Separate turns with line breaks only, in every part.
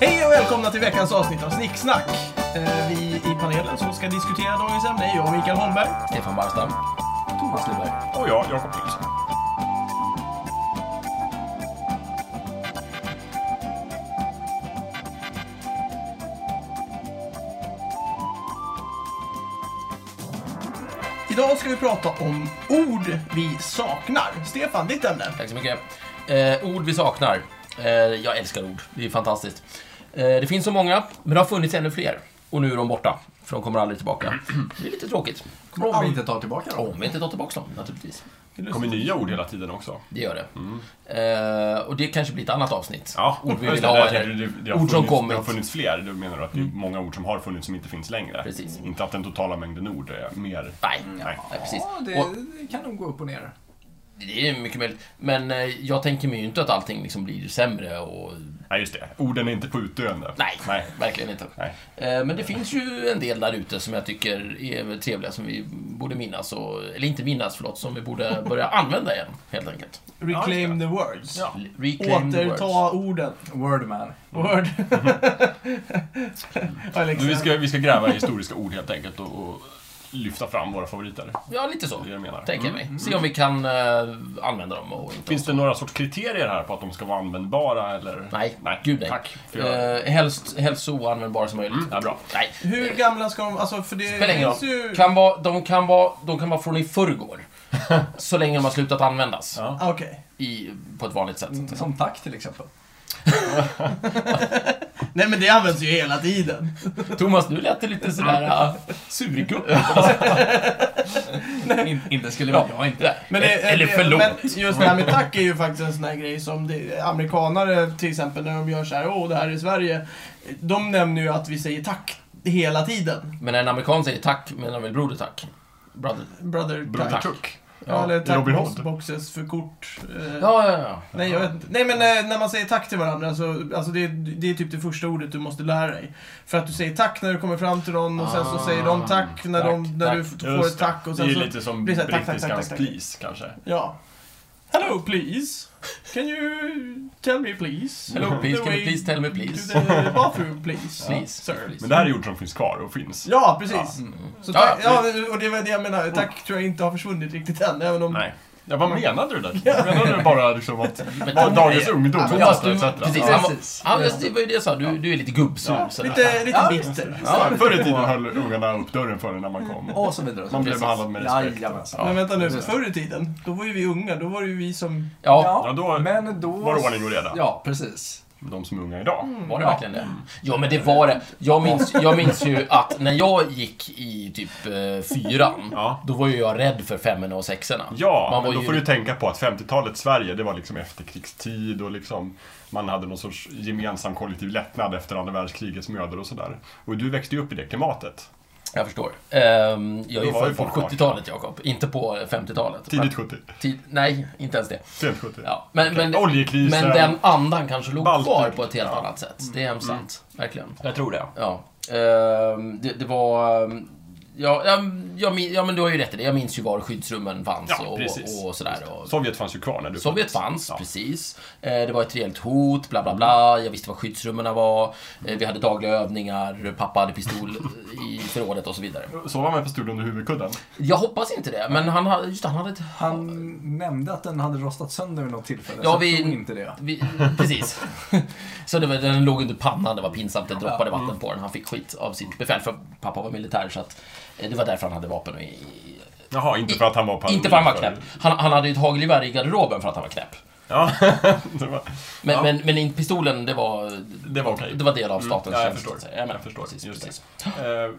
Hej och välkomna till veckans avsnitt av Snicksnack. Eh, Vi i panelen som ska diskutera dagens ämne är jag, Mikael Holmberg.
Stefan Barstam. Thomas Lyberg.
Och jag, Jakob Nilsson.
Idag ska vi prata om ord vi saknar. Stefan, ditt ämne.
Tack så mycket. Eh, ord vi saknar. Eh, jag älskar ord. Det är fantastiskt. Eh, det finns så många, men det har funnits ännu fler. Och nu är de borta, för de kommer aldrig tillbaka. Det är lite tråkigt.
Om vi inte tar tillbaka dem.
Om vi inte tar tillbaka dem, naturligtvis.
Det kommer nya ord hela tiden också.
Det gör det. Eh, och det kanske blir ett annat avsnitt.
Mm. Ja,
Ord vi
just
vill
det,
ha,
jag tänkte,
eller
det, det har
ord som
funnits, Det
kommit.
har funnits fler. Du menar att det är många ord som har funnits som inte finns längre?
Precis.
Inte att den totala mängden ord är mer...
Nej,
Nej.
nej, precis.
Ja, det,
Och
det kan nog gå upp och ner.
det är mycket möjligt. Men eh, jag tänker mig ju inte att allting liksom blir sämre och
Nej, just det. Orden är inte på utdöende.
Nej,
Nej.
verkligen inte.
Nej.
Eh, Men det finns ju en del där ute som jag tycker är trevliga som vi borde minnas, och, eller inte minnas, förlåt, som vi borde börja använda igen, helt enkelt.
Reclaim the words.
Ja.
Reclaim the words.
Återta orden.
Wordman.
Word.
Du, vi,
Alexa.
ska, vi ska gräva i historiska ord helt enkelt och, och lyfta fram våra favoriter.
Ja, lite så,
Det är det jag menar.
tänker jag mig. Se om vi kan eh, använda dem och inte...
Mm. Finns det några sorts kriterier här på att de ska vara användbara eller?
Nej,
nej.
gud nej.
Tack. För jag...
Eh, helst, helst så oanvändbara som möjligt.
Mm, ja, bra.
Nej.
Hur gamla ska de... Alltså, för det
Spelar ingen
finns
roll.
ju...
Kan vara, de, kan vara, de kan vara från i förrgår. så länge de har slutat användas.
Ja. Mm.
Ah, Okej.
I, på ett vanligt sätt.
Som tack till exempel.
Nej, men det används ju hela tiden.
Thomas, nu lät det lite sådär uh, surgupp.
In, inte skulle väl jag inte.
Men det,
Eh, Eller
det-
förlåt.
Men just det här med tack är ju faktiskt en sån här grej som det, amerikanare till exempel när de gör så här, åh det här är Sverige. De nämner ju att vi säger tack hela tiden.
Men när en amerikan säger tack menar han väl broder tack? Brother.
Brother,
Broder
tack.
Tuck.
Ja, eller tack
Robin
box-
Hood.
boxes för kort. Eh,
Ja, ja, ja.
Nej, jag vet inte. Nej, men eh, när man säger tack till varandra så alltså det, det är typ det första ordet du måste lära dig. För att du säger tack när du kommer fram till någon och sen så säger de tack när,
Ah, tack,
de, när du
tack.
f- får ett tack och
det är
sen
ju
så...
lite som
blir det så här, tack, tack, tack,
brittiskans
tack, tack.
please kanske.
Ja. Hello please. Can you tell me please?
Hello, Mm. please,
The
can you
way
please tell me
to
please?
the bathroom please.
Please,
Sir.
please.
Men det här är ord som finns kvar och finns.
Ja, precis. Så
Ja, Mm.
tack, ja, och det var det jag menar. Tack tror jag inte har försvunnit riktigt än, även om...
Nej. Ja, vad menade du där? Menade du bara liksom att
Men alltså,
bara
Tom-
dagens ungdom?
Thomas, du,
etc.
precis,
Ja.
han var, han, just, det var ju det jag sa, du, du är lite gubbsur. sådär.
Lite, lite bitter.
Ja, förr i tiden höll ungarna upp dörren för en när man kom.
Och så vidare.
Man blev behandlad med respekt.
Jajamensan.
Men vänta nu,
Just det.
förr i tiden, då var ju vi unga. Då var det ju vi som...
Ja,
Ja, då
men då...
var det ordning och reda.
Ja, precis.
De som är unga idag.
var det verkligen det? Ja, men det var det. Jag minns, jag minns ju att när jag gick i typ eh, fyran,
Ja.
då var ju jag rädd för femmorna och sexorna.
Ja,
Man var
men då
ju-
får du tänka på att 50-talets Sverige, det var liksom efterkrigstid och liksom man hade någon sorts gemensam kollektiv lättnad efter andra världskrigets mödor och sådär. Och du växte ju upp i det klimatet.
Jag förstår. Ehm, jag är
Då
ju
var
född
ju
på
folk
70-talet, Jakob. Inte på 50-talet. Men-
Tidigt 70,
Tid, nej, inte ens det.
sent 70.
Ja, men, men,
Oljekrisen.
men den andan kanske låg
Baltic,
kvar på ett helt
ja. Mm.
annat sätt. Det är hemskt sant. Verkligen.
Jag tror det.
Ja. Ehm, det, det var... ehm, Ja, ja, jag min, ja, men du har ju rätt i det. Jag minns ju var skyddsrummen fanns
Ja,
och,
precis.
och, och sådär. Och,
Sovjet fanns ju kvar när du
Sovjet fanns,
Ja.
precis. Eh, Det var ett reellt hot, bla bla bla. Jag visste vad skyddsrummen var. Eh, Vi hade dagliga övningar, pappa hade pistol i förrådet och så vidare.
Sov han med pistol under huvudkudden?
Jag hoppas inte det, men han hade, just det, han hade ett...
Han nämnde att den hade rostat sönder vid något tillfälle.
Ja,
så jag
Alltså,
vi-
tror inte det.
Vi, precis. Så det var, den låg under pannan, det var pinsamt, det droppade
Mm.
vatten på den. Han fick skit av sitt befäl, för pappa var militär, så att eh, det var därför han hade vapen. I, i,
Jaha, inte för att han var på
inte för att han var knäpp. Han, han hade ju ett hagelgevär i garderoben för att han var knäpp.
Ja, det var,
Men,
Ja.
men, men in- pistolen, det var,
det var okej. Mm.
det var del av statens
ja, jag
tjänst. så
förstår.
att säga. Ja, men,
Jag förstår.
Precis,
Just det.
precis.
Eh,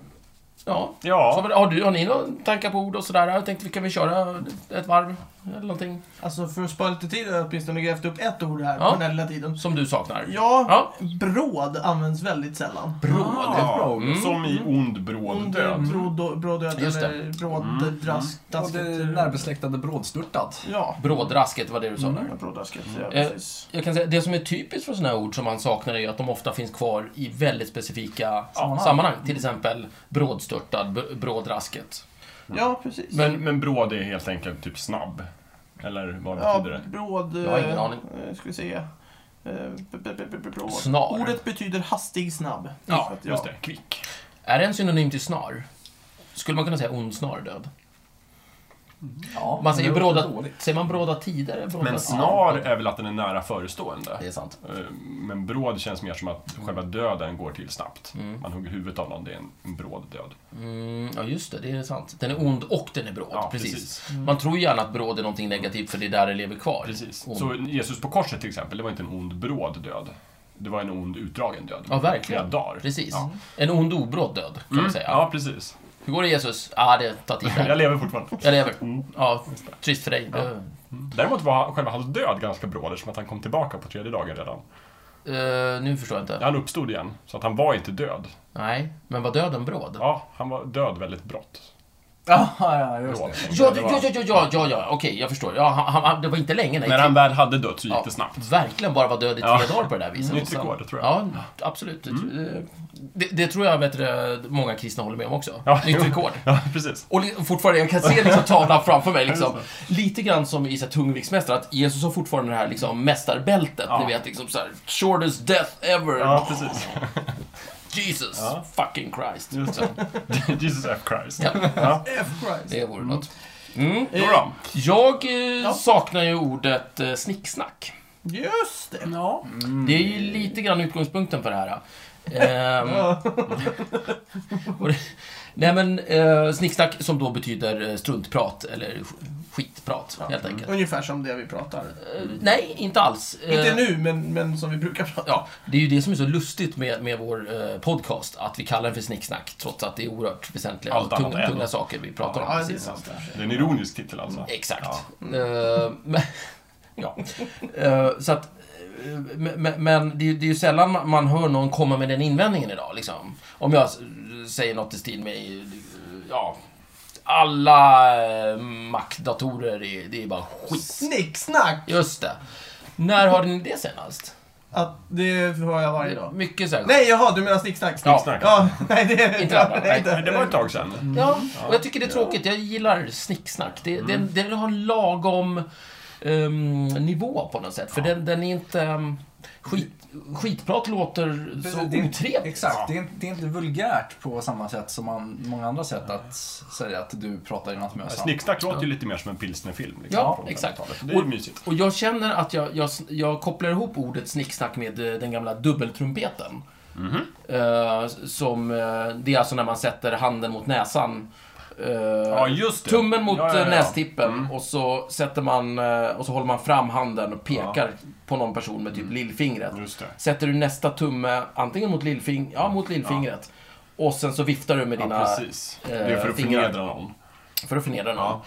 Ja. Så,
ja,
vad- har, du, har ni några tankar på ord och sådär? Jag tänkte, vi kan väl köra ett varv eller någonting?
Alltså för att spara lite tid har jag åtminstone grävt upp ett ord här
Ja.
på den här lilla tiden.
Som du saknar?
Ja,
Ja.
bråd används väldigt sällan.
bråd.
bra ord.
Mm. Som i ond bråd
Om du
död.
bråd, bråd död
Just det. Mm.
eller bråd, drask,
Och
tasket.
det närbesläktade brådstörtat.
Ja,
Brådrasket var det du sa
Mm.
där.
brådrasket. Ja,
Eh,
precis.
Jag kan säga, det som är typiskt för sådana här ord som man saknar är att de ofta finns kvar i väldigt specifika
Sammanhang.
sammanhang. Till exempel brådstörtad, b- brådrasket.
Ja, precis.
Men, men bråd är helt enkelt typ snabb. Eller vad
ja,
betyder det?
bråd...
Jag har ingen
eh,
aning.
eh, Ska vi se. Eh, b- b- b- b- bra.
Snar.
Ordet betyder hastig, snabb.
Ja,
Så att,
Just det, kvick.
Är det en synonym till snar? Skulle man kunna säga ond snar död?
Ja,
Man säger
men det låter
bråda...
dåligt.
Säger man bråda tider? eller Bråda
Men snar är väl att den är nära förestående?
Det är sant.
Eh, Men bråd känns mer som att själva döden går till snabbt. Man hugger huvudet av någon, det är en, en bråd död.
Mm, ja, just det. Det är sant. Den är ond och den är bråd.
Ja,
precis.
precis.
Man tror gärna att bråd är någonting negativt för det är där det lever kvar.
Precis.
Ond.
Så Jesus på korset till exempel, det var inte en ond bråd död. Det var en ond utdragen död.
Ja, verkligen.
Flera dagar.
Precis.
Ja,
En ond obråd död, kan man
mm.
säga.
ja precis.
Hur går det Jesus? Ah, det tar tid
Jag
där.
lever fortfarande.
Jag lever.
Mm.
Ja, trist för dig.
Däremot var själva hans död ganska bråd eftersom att han kom tillbaka på tredje dagen redan.
Eh, nu förstår jag inte.
Han uppstod igen, så att han var inte död.
Nej, men var döden bråd?
Ja, han var död väldigt brått.
Ja, ja, just
Bråd.
det.
Ja,
Det
ja,
var-
ja, ja, ja, ja, ja. okej, jag förstår. Ja, han, han, det var inte länge, nej.
När han väl hade dött så gick
Ja,
det snabbt.
Verkligen bara var död i tre
Ja.
dagar på det där viset.
Nytt
Och sen-
rekord, Mm. tror jag.
Ja, absolut. Eh, Det, det tror jag vet du, många kristna håller med om också.
Ja, jo.
Nytt rekord.
Ja, precis.
Och li- fortfarande, jag kan se liksom tavlan framför mig liksom. Lite grann som i så här tungviktsmästare, att Jesus har fortfarande det här liksom mästarbältet.
Ja.
Ni vet, liksom så här, shortest death ever.
Ja, precis.
Jesus
Ja.
fucking Christ.
Just
Så,
Jesus F. Christ.
Ja.
Ja.
F. Christ.
det vore något. Mm.
Då då.
Jag eh, saknar ju ordet eh, snicksnack.
Just det.
Ja.
Mm.
Det är ju lite grann utgångspunkten för det här. Ehm,
Ja.
och det, nej men, eh, snicksnack som då betyder eh, struntprat eller sk- skitprat, helt enkelt.
Ungefär som det vi pratar.
Eh, nej, inte alls.
Inte
Eh,
nu, men, men som vi brukar prata.
Ja, det är ju det som är så lustigt med, med vår eh, podcast, att vi kallar den för snicksnack, trots att det är oerhört väsentliga
Allt
och
annat
tunga,
än.
tunga saker vi pratar om.
Ja, det är
precis.
sant.
Det är en ironisk titel alltså.
Exakt.
Ja.
Eh, men, ja. Eh, så att, eh, men- men, men det, är ju- det är ju sällan man- man hör någon komma med den invändningen idag. Liksom. Om jag s- säger något i stil med, eh, ja, alla eh, Mac-datorer är, det är bara skit.
Snicksnack!
Just det. När hörde ni det senast?
Att det hör jag varje dag.
Mycket så här-
Nej, jaha, du menar snicksnack?
Ja.
Snicksnack.
Ja, nej det är
Inte alla.
nej,
Nej, det var ett tag sedan.
Ja, Mm. och jag tycker det är tråkigt. Jag gillar snicksnack. Det, den, den har en lagom ehm, nivå på något sätt. För den, den är inte... ehm, skit, skitprat låter så
Det är inte-
otrevligt.
Exakt, det är, inte, det är inte vulgärt på samma sätt som man, många andra sätt att säga att du pratar i något mössa.
Snicksnack låter ju lite mer som en pilsnerfilm. Liksom,
Ja,
från
exakt.
50-talet. Det är ju mysigt.
Och jag känner att jag, jag, jag kopplar ihop ordet snicksnack med eh, den gamla dubbeltrumpeten. Eh, som, eh, det är alltså när man sätter handen mot näsan. eh,
Ja, just det.
Tummen mot
Ja, Mm. ja, ja.
eh, nästippen och så sätter man eh, och så håller man fram handen och pekar på någon person med typ
Mm.
lillfingret.
Just det.
Sätter du nästa tumme antingen mot, lillfing ja, mot lillfingret och sen så viftar du med dina eh,
Ja, precis. Det är för att
fingrar.
förnedra någon.
för att förnedra någon.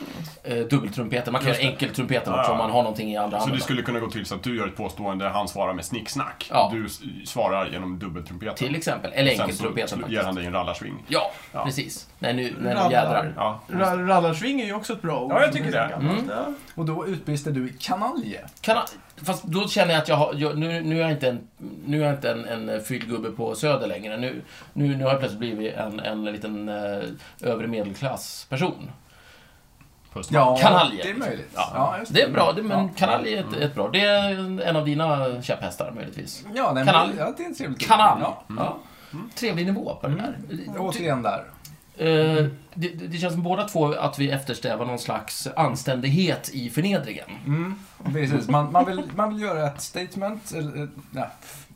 Eh, dubbeltrumpeten. Man kan göra enkeltrumpeten
Ja,
också
ja.
om man har någonting i andra
Så
handen.
Alltså, det skulle kunna gå till så att du gör ett påstående, han svarar med snicksnack.
Ja.
Du s- svarar genom dubbeltrumpeten.
Till exempel. Eller
Sen så
enkeltrumpeten
ger
faktiskt.
han dig en rallarsving.
Ja,
Ja.
precis. När nu, när
Ramlar.
nu jädrar.
Ja.
Ra- Rallarsving är ju också ett bra ord. alltså.
Ja, jag
som
tycker
är så
det.
gammalt.
Mm.
Ja.
Och då utbrister du kanalje.
Kan, jag- fast då känner jag att jag har, jag, nu, nu är jag inte en, nu är jag inte en, en eh, fylld gubbe på Söder längre. Nu, nu, nu har jag plötsligt blivit en, en liten eh, övre medelklassperson.
Puss.
Kanalje.
Det är möjligt.
Ja.
just
Det är bra, det, men
Ja. Mm.
kanal är ett, ett bra. Det är en- en av dina käpphästar möjligtvis.
Ja, nej,
Kanal.
men, ja, det är trevligt.
Kanal. Mm.
Ja. Mm.
Ja. Trevlig nivå på det där. Ty-
Återigen där.
Eh, det, det känns som båda två att vi eftersträvar någon slags anständighet i förnedringen.
Mm, Precis. Man, man, vill, man vill göra ett statement, eller, eh, nej,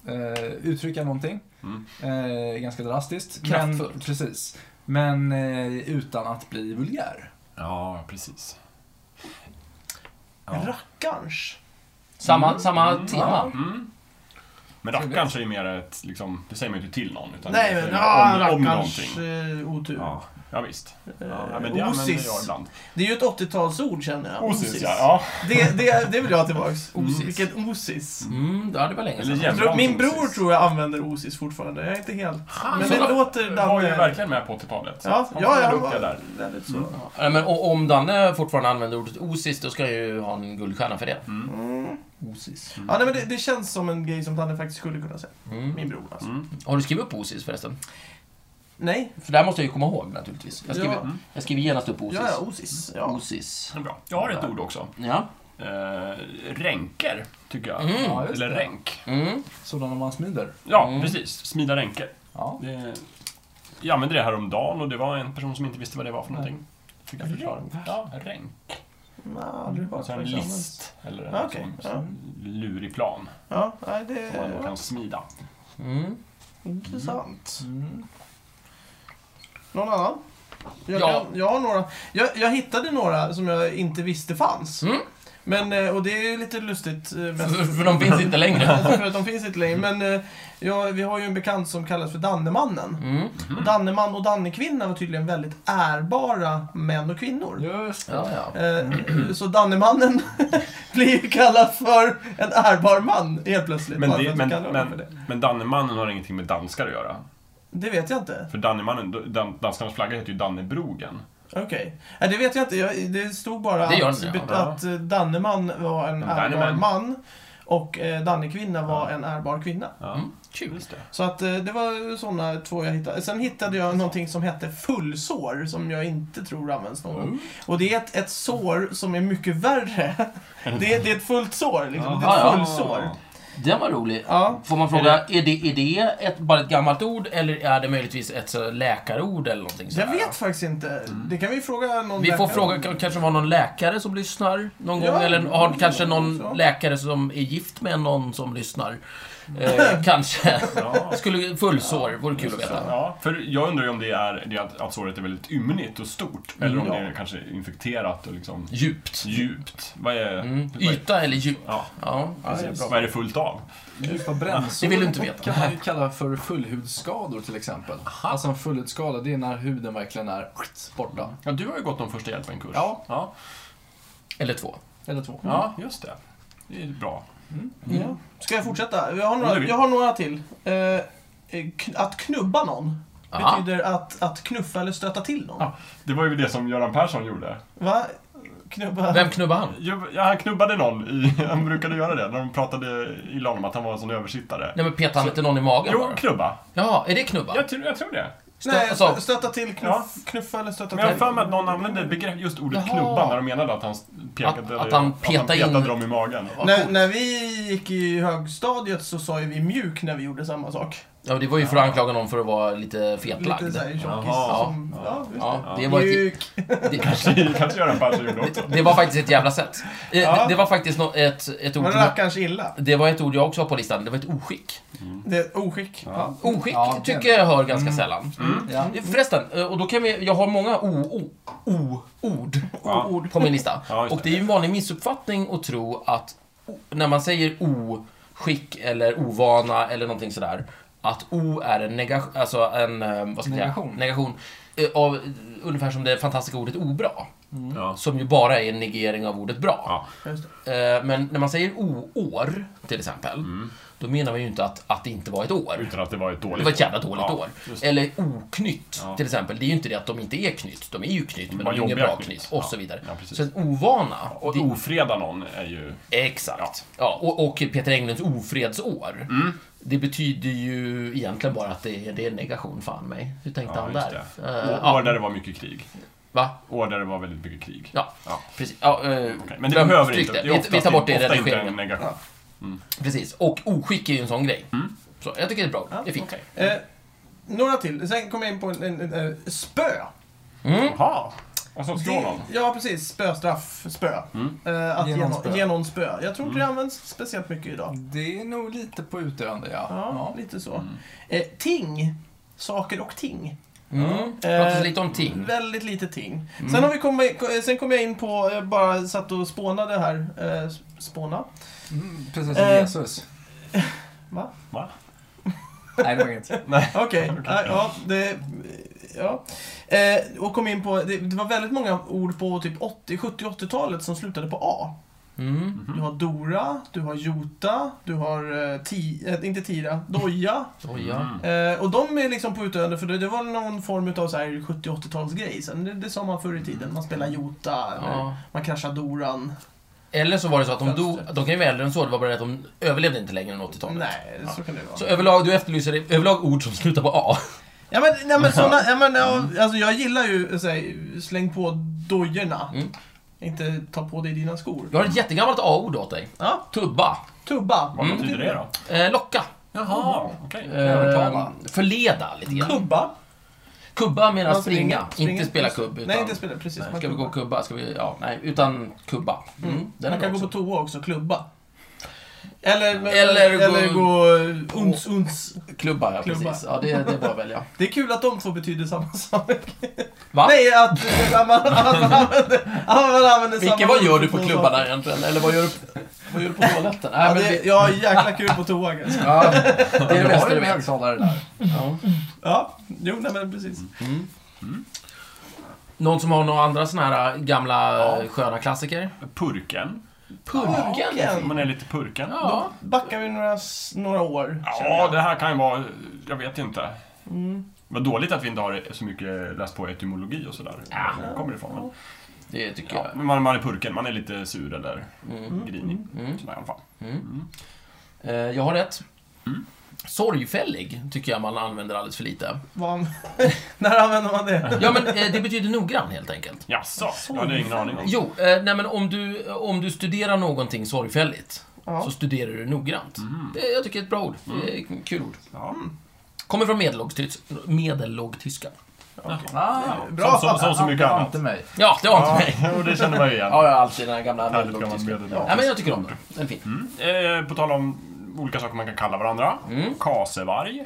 eh, uttrycka någonting.
Mm.
Eh, ganska drastiskt. Men,
Kraftfullt.
precis. Men eh, utan att bli vulgär.
Ja, precis. Ja.
Rackarns.
Samma, samma tema.
Mm. Men rackarns är ju mer ett, liksom, det säger man ju inte till någon. Utan
Nej
det
men,
säger
ja,
man om, om
rackarns
någonting.
eh, otur.
Ja, ja visst. Ja,
Eh,
men det använder
osis.
jag ibland.
Det är ju ett 80-talsord känner jag.
Osis, ja. Mm. ja.
Det, det, det vill jag ha tillbaks.
Osis.
Vilket osis.
Mm, ja, det var länge
Eller
sedan.
Jag tror,
jämfört
min
med
bror
osis.
tror jag använder osis fortfarande. Jag är inte helt...
Han
Men
som-
det låter
var ju
Danne...
verkligen med på 80-talet. så
Ja,
han
ja,
var
jag var
duktig där.
väldigt
Mm.
så.
Ja, men o- om Danne fortfarande använder ordet osis, då ska jag ju ha en guldstjärna för det.
Mm.
Osis.
Ja, nej, men det, det känns som en grej som Danne faktiskt skulle kunna säga.
Mm.
Min bror alltså.
Mm.
Har du skrivit upp osis förresten?
Nej.
För det här måste jag ju komma ihåg naturligtvis. Jag skriver,
Ja.
jag skriver genast upp osis.
Mm.
Ja, ja, osis. Ja.
Osis.
Det är Bra. Jag har ett ord också.
Ja.
eh, ränker, tycker jag.
Mm.
Ja, just
Eller
det.
ränk.
Mm.
Sådana man smider.
Ja,
Mm.
precis. Smida ränker.
Ja.
Det, Eh, jag använde det här om dagen och det var en person som inte visste vad det var för någonting. Fick jag förklara.
Ränk?
Ja, ränk.
Nej, aldrig hört
Alltså en
faktiskt.
list. Eller en
Ja, Ah, okej.
sån-
Ja.
sån lurig plan
Ja, nej, det
som man då
är
kan smida.
Mm.
intressant.
Mm.
Någon annan? Jag,
Ja.
kan, jag har några. Jag, jag hittade några som jag inte visste fanns.
Mm.
Men, eh, och det är ju lite lustigt. eh, Men,
För, för de finns inte längre.
för att de finns inte längre. Men eh, ja, vi har ju en bekant som kallas för Dannemannen.
Mm.
Och Danneman och Dannekvinna var tydligen väldigt ärbara män och kvinnor.
Just det.
Ja, ja.
Eh, Så Dannemannen blir ju kallad för en ärbar man helt plötsligt.
Men,
bara för
det,
att
men,
vi kallar honom för
men, men Dannemannen har ingenting med danskar att göra.
Det vet jag inte.
För Dannemannen, dan, danskarnas flagga heter ju Dannebrogen.
Okej. Nej, det vet jag inte. Jag, det stod bara
Det gör
att,
den, ja. Mm,
bet- att eh, Danneman var en
En
ärbar
Danneman.
man och eh, Dannekvinna var en ärbar kvinna.
Ja.
Mm. Kul.
Just det.
Så att eh, det var sådana två jag hittade. Sen hittade jag någonting som hette fullsår som jag inte tror används någon
Oh.
gång. Och det är ett, ett sår som är mycket värre. Det, är- det är ett fullt sår liksom. Det är
Aha,
ett fullsår.
Den var rolig.
Ja.
Får man fråga, är det, är det ett, bara ett gammalt ord eller är det möjligtvis ett så, läkarord eller någonting
Jag
sådär?
vet faktiskt inte. Det kan vi fråga någon
Mm. Vi får
läkare.
fråga, k- kanske var någon läkare som lyssnar någon
Ja,
gång, eller har
ja,
kanske någon
så.
läkare som är gift med någon som lyssnar. Eh, kanske.
Ja.
Skulle fullsår, vore kul att veta.
Ja, för jag undrar ju om det är det är att, att såret är väldigt ymnigt och stort, eller om det är kanske infekterat och liksom
Djupt.
djupt. Vad är...
Mm.
Vad är
Yta eller djup.
ja,
Ja,
precis. Vad är det fullt av?
Djupa brännsår.
Det vill du inte veta.
kan man ju kalla för fullhudsskador till exempel. Alltså en fullhudsskada, det är när huden verkligen är
Mm.
borta.
Ja, du har ju gått någon första hjälpen-kurs.
Ja.
ja.
Eller två.
Eller två.
Ja, just det. Det är bra.
Ja. Ska jag fortsätta? Jag har några,
Ja, det-
jag har några till. Eh, eh, kn- att knubba någon
Aha.
betyder att, att knuffa eller stöta till någon.
Ja, det var ju det som Göran Persson gjorde.
Va? Knubba?
Vem knubbar han?
Jo, Ja, han knubbade någon, i, han brukade göra det, när de pratade illa om att han var en sån översittare.
Nej men petar han inte någon i magen
Jo,
bara?
knubba.
Ja, är det knubba?
Jag, tror- jag tror det.
Nej,
Stöta-
stö- stöta till, knuff,
Ja.
knuffa eller stöta
Men jag har
till.
för mig att någon använde begrepp, just ordet
Jaha.
knubba när de menade att han pekade...
Att- att han petade in-
dem i magen.
När, när vi gick i högstadiet så sa ju vi mjuk när vi gjorde samma sak.
Ja, det var ju för att anklaga någon för att vara lite fetlagd.
Lite såhär tjockis
Jaha.
som... Ja, just
Ja, det
det.
var, typ ett,
Mjuk.
det,
Det kanske Göran Persson gjorde också.
det var faktiskt ett jävla sätt. Eh,
Ja.
det, det var faktiskt nå- ett, ett ord
Man rackars illa.
Det var ett ord jag också har på listan. Det var ett oskick.
Det är ett oskick. Ja.
Oskick
Ja, det- Mm.
tycker jag hör
Mm.
ganska sällan.
Ja.
Förresten, eh, och då kan vi, jag har många o-ord
Ja.
på min lista.
Ja, just
och det är ju en vanlig missuppfattning att tro att o- när man säger oskick eller ovana eller någonting sådär, att o är en negation, alltså en, eh, vad ska jag
Negation.
säga, negation eh, av eh, ungefär som det fantastiska ordet obra,
Mm.
Ja.
som ju bara är en negering av ordet bra.
Ja.
Just det.
Eh, Men när man säger o-år, till exempel,
Mm.
då menar man ju inte att, att det inte var ett år.
Utan att det var ett dåligt
Det var ett jävla dåligt
Ja,
år.
just det.
Eller oknytt,
Ja.
till exempel. Det är ju inte det att de inte är knytt. De är ju knytt, men
Bara
de är inget
jobbiga
bra
knytt.
knytt. Och
Ja.
så vidare.
Ja, precis.
så en ovana.
Och
det,
ofreda någon är ju...
Exakt. Ja, och, och Peter Englunds ofredsår.
Mm.
Det betyder ju egentligen bara att det är, det är negation, fan mig. Hur tänkte
Ja,
han
just
där?
det.
Eh,
År
ja.
där det var mycket krig.
Va?
År där det var väldigt mycket krig.
Ja,
Ja.
precis. Ja, eh,
Okej, Men det
glöm-
behöver
stryk
inte.
det.
är
Vi, vi tar bort det i
ofta inte
redigeringen.
en negation.
Precis, och oskick är ju en sån grej.
Mm.
Så jag tycker det är bra. det är fint.
Eh, några till. Sen kom jag in på en, en, en, eh, spö.
Mm.
Jaha. Alltså slå
Det,
någon. Mm.
ja, precis. Spöstraff, spö. Eh, att ge någon spö. Ge någon spö. Jag tror inte det används speciellt mycket idag.
Det är nog lite på utdöende, ja.
Ja,
Ja.
lite så. Eh, ting. Saker och ting.
Mm.
Eh,
Pratas lite om ting.
Väldigt lite ting. Sen, har vi kommit, eh, sen kom jag in på, jag bara satt och spånade här. Eh, spåna?
Mm, precis som
Eh.
Jesus.
Va?
Va?
Nej, det var inget.
Okej, ja, ja, det... Ja. Eh, och kom in på, det, det var väldigt många ord på typ 80, 70 80-talet som slutade på A.
eh,
Mm.
Du har Dora, du har Jota, du har eh, ti, eh, inte Tira, Doja.
Oj,
Mm.
ja.
Eh, och de är liksom på utdöende för det, det var någon form av så här 70-80-talsgrej. Sen det, det sa man förr i tiden, man spelar Jota, eller
Ja.
man kraschar Doran.
Eller så var det så att de dog, de kan ju vara äldre än så, det var bara det att de överlevde inte längre än 80-talet.
Nej, så kan det vara.
Så överlag, du efterlyser överlag ord som slutar på A.
Ja men,
Mm. Mm.
nej, men såna, ja, men, ja, alltså, jag gillar ju, så här, släng på dojorna. inte ta på dig dina skor.
Jag har ett jättegammalt A-ord åt dig.
Ja,
Tubba.
tubba.
Vad betyder det då?
Eh, locka.
Jaha, okej.
Eh, förleda lite grann.
Kubba.
Kubba menar
Man springer,
springa.
springer.
Inte spela kubb. Utan,
Nej, inte spela. Precis.
Nej,
man
ska vi
kubbar.
gå kubba? Ska vi, ja, nej, utan kubba. Mm. Den är
Man kan gå
bra
på
också.
toa också, klubba. Eller, eller,
Eller gå-
eller gå eh, uns, uns.
Klubba, ja
Klubba.
precis. Ja, det, det är bara att välja.
Det är kul att de två betyder samma sak.
Va?
Nej, att, eh, att, man, att, man använder, att man använder
Vilken,
samma
vad
ord
gör du
för
på
två
klubbarna
saker.
egentligen? Eller vad gör du, vad gör du på toaletten? Nej,
Ja,
men
det,
det,
jag har jäkla kul på toa kanske.
Ja, det
det
är
bästa
det bästa
du
du
vet.
högtalare där.
ja.
Ja, jo, nej men precis.
Någon som har några andra såna här gamla eh, sköna klassiker?
Purken.
Purken!
Ja,
Ja,
okej.
Man är lite purken.
ja.
Backar vi några, s- några år. känner
Ja,
jag.
det här kan ju vara... Jag vet inte.
Mm.
Vad dåligt att vi inte har så mycket läst på etymologi och sådär.
Ja.
Var kommer det ifrån? Men,
det tycker
ja,
jag.
men man, man är purken, man är lite sur eller grinig.
Mm.
Sådär i alla fall. Mm.
Eh, Jag har rätt. Mm. Sorgfällig tycker jag man använder alldeles för lite.
Vad- När använder man det?
Ja, men eh, det betyder noggrann helt enkelt.
Jaså? Jag hade ingen aning om.
Jo, eh, nej men om du, om du studerar någonting sorgfälligt
Ja.
så studerar du noggrant.
Mm.
Det, jag tycker det är ett bra ord. Det är ett kul ord.
Ja.
Kommer från medellågstys- medellågtyska.
Ah,
Bra.
Som, som, som så mycket annat.
Inte mig.
Ja, det var inte mig.
Ja, och det känner man ju igen.
Ja, jag har alltid den här gamla Mm.
Härligt gammalt
medellågtyska.
medel.
Ja, men jag tycker om den. Den är fin.
Eh, på tal om olika saker man kan kalla varandra.
Mm.
Kasevarg.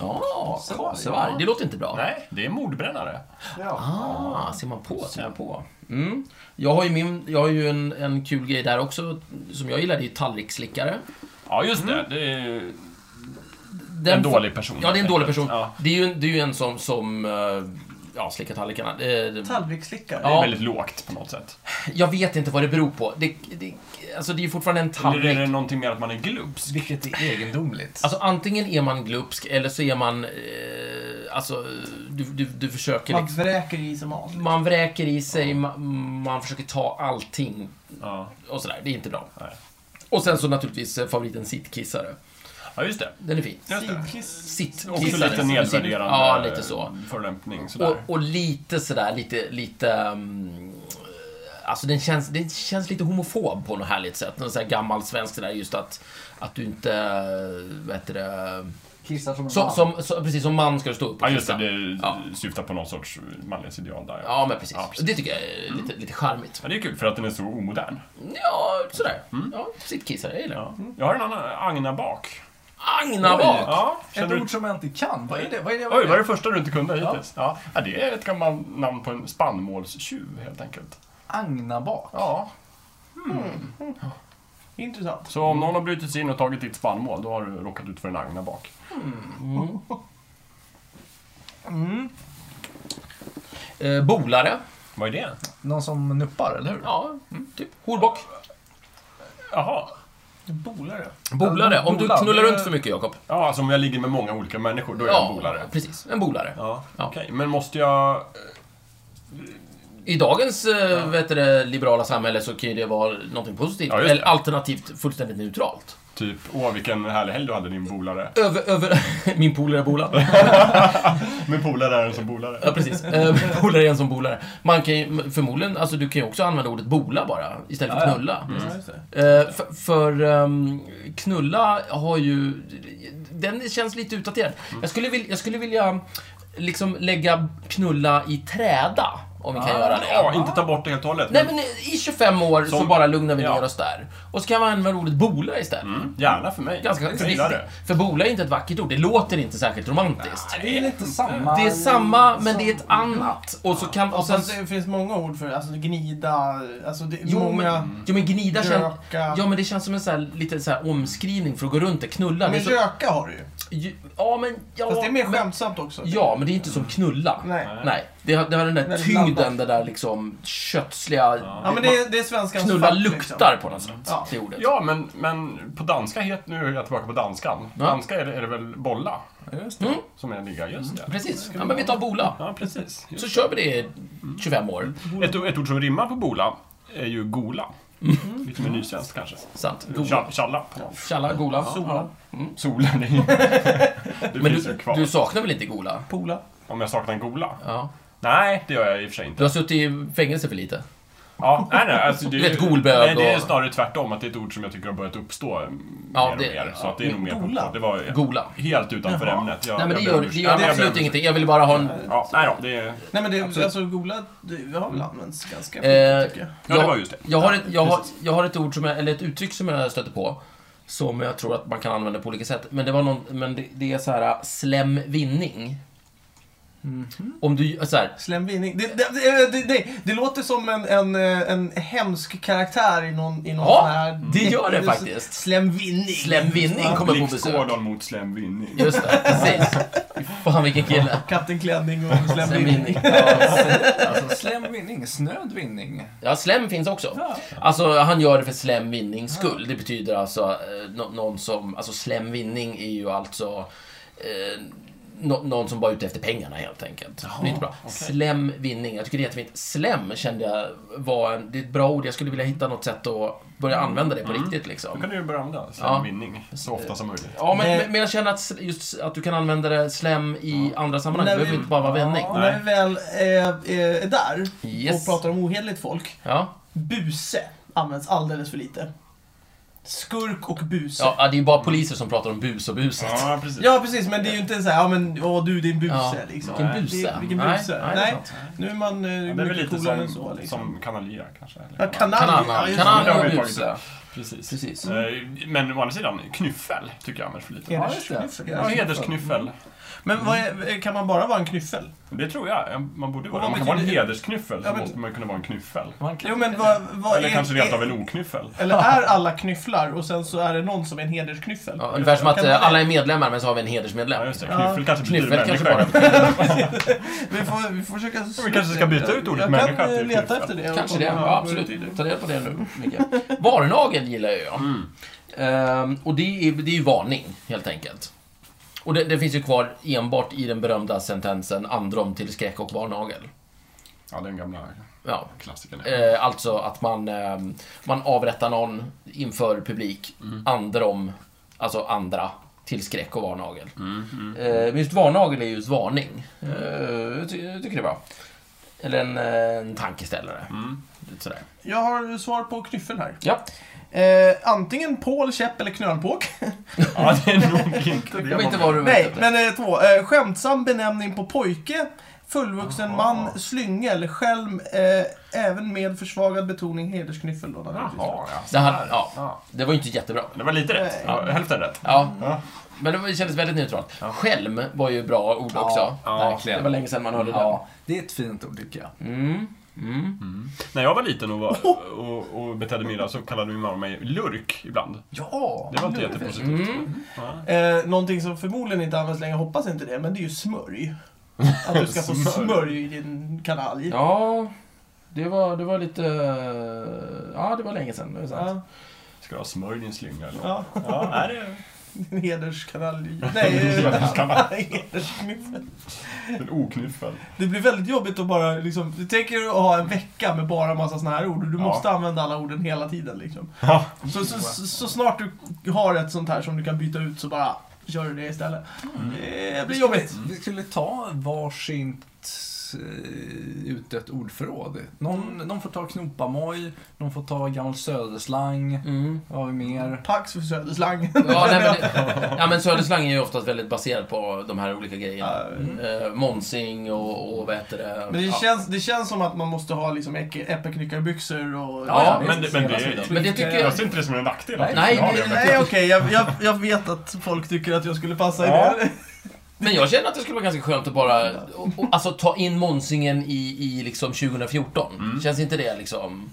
Ja, kasevarg. Det låter inte bra.
Nej, det är mordbrännare.
Ah, ser man på, ser man på. Mm. Jag har ju, min, jag har ju en, en kul grej där också, som jag gillar, det är ju tallriksslickare.
Ja, just det. Det är
Mm. Den
en dålig person.
Ja, det är en dålig person.
Ja.
Det, är ju, en- det är ju en som, som eh, ja, slickar tallrikarna. Eh,
Tallriksslickare.
Det är
Ja.
väldigt lågt på något sätt.
Jag vet inte vad det beror på. Det, det, alltså, det är ju fortfarande en
Eller är
tallrik.
det någonting mer att man är glupsk?
Vilket är egendomligt.
Alltså antingen är man glupsk eller så är man... Eh, alltså, du, du, du försöker...
Man
Man,
vräker i sig mat.
man vräker i sig, man, man försöker ta allting
Ja.
och sådär. Det är inte bra.
Nej.
Och sen så naturligtvis eh, favoriten sittkissare.
ja, just det.
Den är fin.
Just det.
Sidkiss.
Också
Sittkissare.
lite nedvärderande
Ja, lite så.
förolämpning. Sådär.
Och, och lite sådär, lite... lite mm, Alltså den känns, den känns lite homofob på något härligt sätt. Någon sån här gammal svensk sådär just att, att du inte, eh, vad heter det,
Kissar som en
Så,
man.
som, så, precis, som man ska du stå upp och
ja, just det.
kissa.
Det
Ja.
syftar på någon sorts manlighetsideal där.
Ja, men precis.
Ja, precis. Mm.
Det tycker jag är lite, lite charmigt.
Ja, det är kul för att den är så omodern.
Ja, sådär. Ja, sittkissare, jag gillar det.
Mm. Ja. Jag har en annan, Agna Bak.
Agna
Oj.
bak!
Ja,
Ett
känner du...
ord som jag inte kan. Vad är det? Vad är det?
Oj, var det första du inte kunde hittills? Ja. Ja, det är ett gammalt namn på en spannmålstjuv helt enkelt.
Agnabak.
Ja,
Intressant.
så om någon har brutit sig in och tagit ditt spannmål, då har du råkat ut för en agna bak.
Eh, bolare.
Vad är det?
Någon som nuppar, eller hur?
Ja, typ. Horbock.
Jaha.
Bolare.
Bolare. Om du
Bola,
knullar
det-
runt för mycket, Jakob.
Ja, alltså om jag ligger med många olika människor, då är jag en bolare.
precis. En bolare.
Ja,
Ja.
okej. Men måste jag...
I dagens eh, vet du, det, liberala samhälle så kan ju det vara någonting positivt.
Ja, just det.
eller alternativt fullständigt neutralt.
Typ, åh vilken härlig helg du hade din bolare.
Över, över... Min polare bolar.
Min polare är en som bolare.
Ja, precis. Eh, Polare är en som bolare. Man kan ju förmodligen, alltså du kan ju också använda ordet bola bara, istället för knulla.
Mm.
Eh, för för ehm, knulla har ju, den känns lite utdaterad.
Mm.
Jag, skulle vilja, jag skulle vilja liksom lägga knulla i träda, om vi kan göra det.
Ah, Ja, inte ta bort det helt och hållet.
Nej men i 25 år så
Som-
bara lugnar vi
ja.
ner oss där. Och så kan man använda ordet bola istället.
Mm, Gärna för mig.
Ganska
jag gillar det.
trist. För bola är inte ett vackert ord, det låter inte särskilt romantiskt.
Det är lite samma...
Det är samma, men det är ett annat. Och så kan... Och
Och
sen,
sen, det finns många ord för det. Alltså gnida, alltså det är
Jo,
många...
men, jo, men gnida känns...
Röka.
Ja, men det känns som en så här, lite så här omskrivning för att gå runt det. Knulla. det
Men
är så,
röka har du ju.
ju- ja, men... Ja,
Fast det är mer
men,
skämtsamt också.
ja, men det är inte som knulla.
Nej.
Nej. Det har, det har den där
Väldigt
tyngden,
blandat.
den där liksom kötsliga...
Ja, men det är, det är svenskans
Knulla
fack, liksom.
luktar på något sätt.
Ja.
Det ordet.
Ja, men, men på danska heter... Nu är jag tillbaka på danskan. På
Ja.
danska är det, är det väl bolla
Just det.
Mm.
som är ligga. Just det.
Precis. Ja, men vi tar bola.
Ja, precis.
Så kör vi det i 25 år.
Ett, ett ord som rimmar på bola är ju gola. Lite mer nysvenskt kanske.
Sant. Mm. Gola.
Tja- Tjalla på någon.
Tjalla, gola.
Sola.
Solen är ju... Det
Men
finns ju
du,
kvar.
du saknar väl inte gola?
Pola.
Om jag saknar en gola?
Ja.
Nej, det gör jag i och för sig
Du
inte.
har suttit i fängelse för lite.
Ja, nej, nej, alltså det, är ju-
Vet, golbög
nej, det är
och-
snarare tvärtom, att det är ett ord som jag tycker har börjat uppstå mm,
Ja,
mer och
det-
mer. Så
ja,
att det är nog mer
gola.
på Det var
Gola.
helt utanför
Jaha.
ämnet. Jag,
Nej, men det
jag ber
gör,
om
det
ursäkt.
gör
Nej,
det
men jag ber om
absolut
ursäkt.
ingenting. Jag ville bara ha en...
Ja, nej då, det, är-
Nej men det,
Absolut.
alltså gola det har väl använts ganska
Eh,
mycket tycker jag.
Ja, det var just det.
Jag har, ett, jag, har, jag har ett ord, som jag, eller ett uttryck som jag stötte på. Som jag tror att man kan använda på olika sätt. Men det, var någon, men det, det är så här äh, slemvinning.
Mhm.
Om du, så här,
Slemvinning. Det, det, det, eh, det, det, det låter som en, en, eh, en hemsk karaktär i någon, i någon
Ja,
sån här...
det gör det faktiskt.
Slemvinning.
slemvinning kommer på
Blix
besök.
Gordon mot Slam Winning.
Just det, precis. Fy Fan vilken kille.
Kattenklänning och slemvinning.
Slemvinning. Ja.
Alltså, slem vinning, snöd vinning.
Ja, slem finns också.
Ja.
Alltså, han gör det för slem vinnings skull. Det betyder alltså eh, nå- någon som... Alltså, slem vinning är ju alltså... Eh, nå- någon som bara är ute efter pengarna helt enkelt. det är inte bra. Slem vinning, jag tycker det är jättefint. Slem kände jag var en, det är ett bra ord. Jag skulle vilja hitta något sätt att börja
Mm.
använda det på riktigt
Då
liksom.
kan du ju börja använda Slam
Ja.
Winning så ofta som möjligt.
Ja, men,
Nej.
men- men jag känner att s- just att du kan använda det slem i andra sammanhang.
När
Det behöver
vi-
inte bara vara vändning.
Och när vi väl eh, eh, är där
Yes.
och pratar om ohederligt folk.
Ja.
Buse används alldeles för lite. Skurk och buse.
Ja,
Ja.
det är ju bara poliser som pratar om bus och buset.
Ja, precis.
precis, men det är ju inte så här, ja men åh du din buse
Ja.
liksom.
Vilken buse.
Det, vilken
Nej,
buse.
nej,
Nej,
det är sant.
nu är man eh,
Ja, Det är väl
mycket
lite
coolare
som,
än så liksom.
som Kanalia kanske. eller?
Ja, kanal.
Kanal,
ja, just
kanal.
det.
Ja,
och
det har vi
buse.
tagit. Precis.
Precis.
Eh, Men å andra sidan, knyffel tycker jag används för lite.
Ja, just det.
Hedersknyffel.
Ja, hedersknyffel.
Men vad
eh,
är, kan man bara vara en knyffel?
Det tror jag. Man borde vara
Vad
Om man kan vara en
betyder-
hedersknyffel så
typ Ja, men-
måste man kunna vara en knyffel.
Man kan,
Jo men vad, vad
Eller
är...
kanske rent av
är,
en oknyffel.
Eller är alla knyfflar och sen så är det någon som är en hedersknyffel?
Ja, ungefär som att
Kan man-
eh, alla är medlemmar, men så har vi en
Ja,
hedersmedlem.
just det. Knyffel kanske betyder
Knyffel kanske
människa.
bara...
Vi får, vi får försöka...
vi kanske ska byta ut ordet
jag
människa
kan eh,
till
leta
knyffel.
efter det. och
Kanske det,
kolla
ja,
vad betyder.
absolut. Ta reda på det nu, Micke. Mm. Varnagel gillar ju jag. Ehm, och det är, det är ju varning, helt enkelt. Och det, det finns ju kvar enbart i den berömda sentensen androm till skräck och varnagel.
Ja, den gamla
Ja.
klassikern.
Eh, alltså att man, eh, man avrättar någon inför publik, androm, alltså andra, till skräck och varnagel. Eh, men just varnagel är just varning. Eh, jag, ty- jag tycker det är bra. Eller en, eh, en tankeställare. Lite sådär.
Jag har svar på knyffeln här.
Ja,
Eh, antingen pål, käpp eller knölpåk.
Ja, det är nog inte
det var
det.
inte vad du
Nej,
menade.
men eh, två. Eh, skämtsam benämning på pojke, fullvuxen man, slyngel, skälm, eh, även med försvagad betoning hedersknyffel då naturligtvis.
Jaha, ja.
det,
så
här,
här.
ja, det var ju inte jättebra.
Det var lite rätt. Ja, Hälften rätt.
Ja,
Ja.
men det var- det kändes väldigt neutralt. Skälm var ju bra ord också.
ja, verkligen.
det var länge sedan man hörde
ja, det är ett fint ord tycker jag.
det. Mm. Mm.
När jag var liten och, var, och, och betedde mig illa så kallade min mamma mig lurk ibland.
Ja!
Det var inte jättepositivt.
Mm.
Eh, någonting som förmodligen inte används längre, jag hoppas inte det, men det är ju smörj. Att du ska få
Smörj.
smörj i din kanalj.
Ja, det var, det var lite... Ja, det var länge sedan. Det är sant.
Ja,
Ska du ha smörj i din slinga eller något?
ja.
Ja, nej, det
Din hederskanalj. Nej, eh, hedersknyffel.
är en oknyffel.
Det blir väldigt jobbigt att bara liksom, du tänker att ha en vecka med bara massa såna här ord. Du
Ja.
måste använda alla orden hela tiden liksom.
Ja.
Så, så, så, så snart du har ett sånt här som du kan byta ut så bara kör du det istället.
Mm.
Det blir jobbigt.
Vi skulle ta varsitt eh, utdött ordförråd. Någon,
Mm.
någon får ta knopamoj, någon får ta gammal söderslang.
Mm.
Vad har vi mer?
Pax för söderslang.
Ja, nej, men det, ja, men Söderslang är ju oftast väldigt baserad på de här olika grejerna.
Ja,
Eh, Monsing och, och vad heter det?
Men det
ja.
känns, det känns som att man måste ha liksom äcke- eppeknyckarbyxor och...
Ja,
men det- men det är-
Men det tycker jag...
Jag ser inte det som en nackdel.
Nej,
att
nej,
jag har det,
nej,
men-
Nej, okej. jag, jag, jag vet att folk tycker att jag skulle passa
Ja.
i det.
Men jag känner att det skulle vara ganska skönt att bara och, och, alltså, ta in Monsingern i, i liksom 2014.
Mm.
Känns inte det liksom...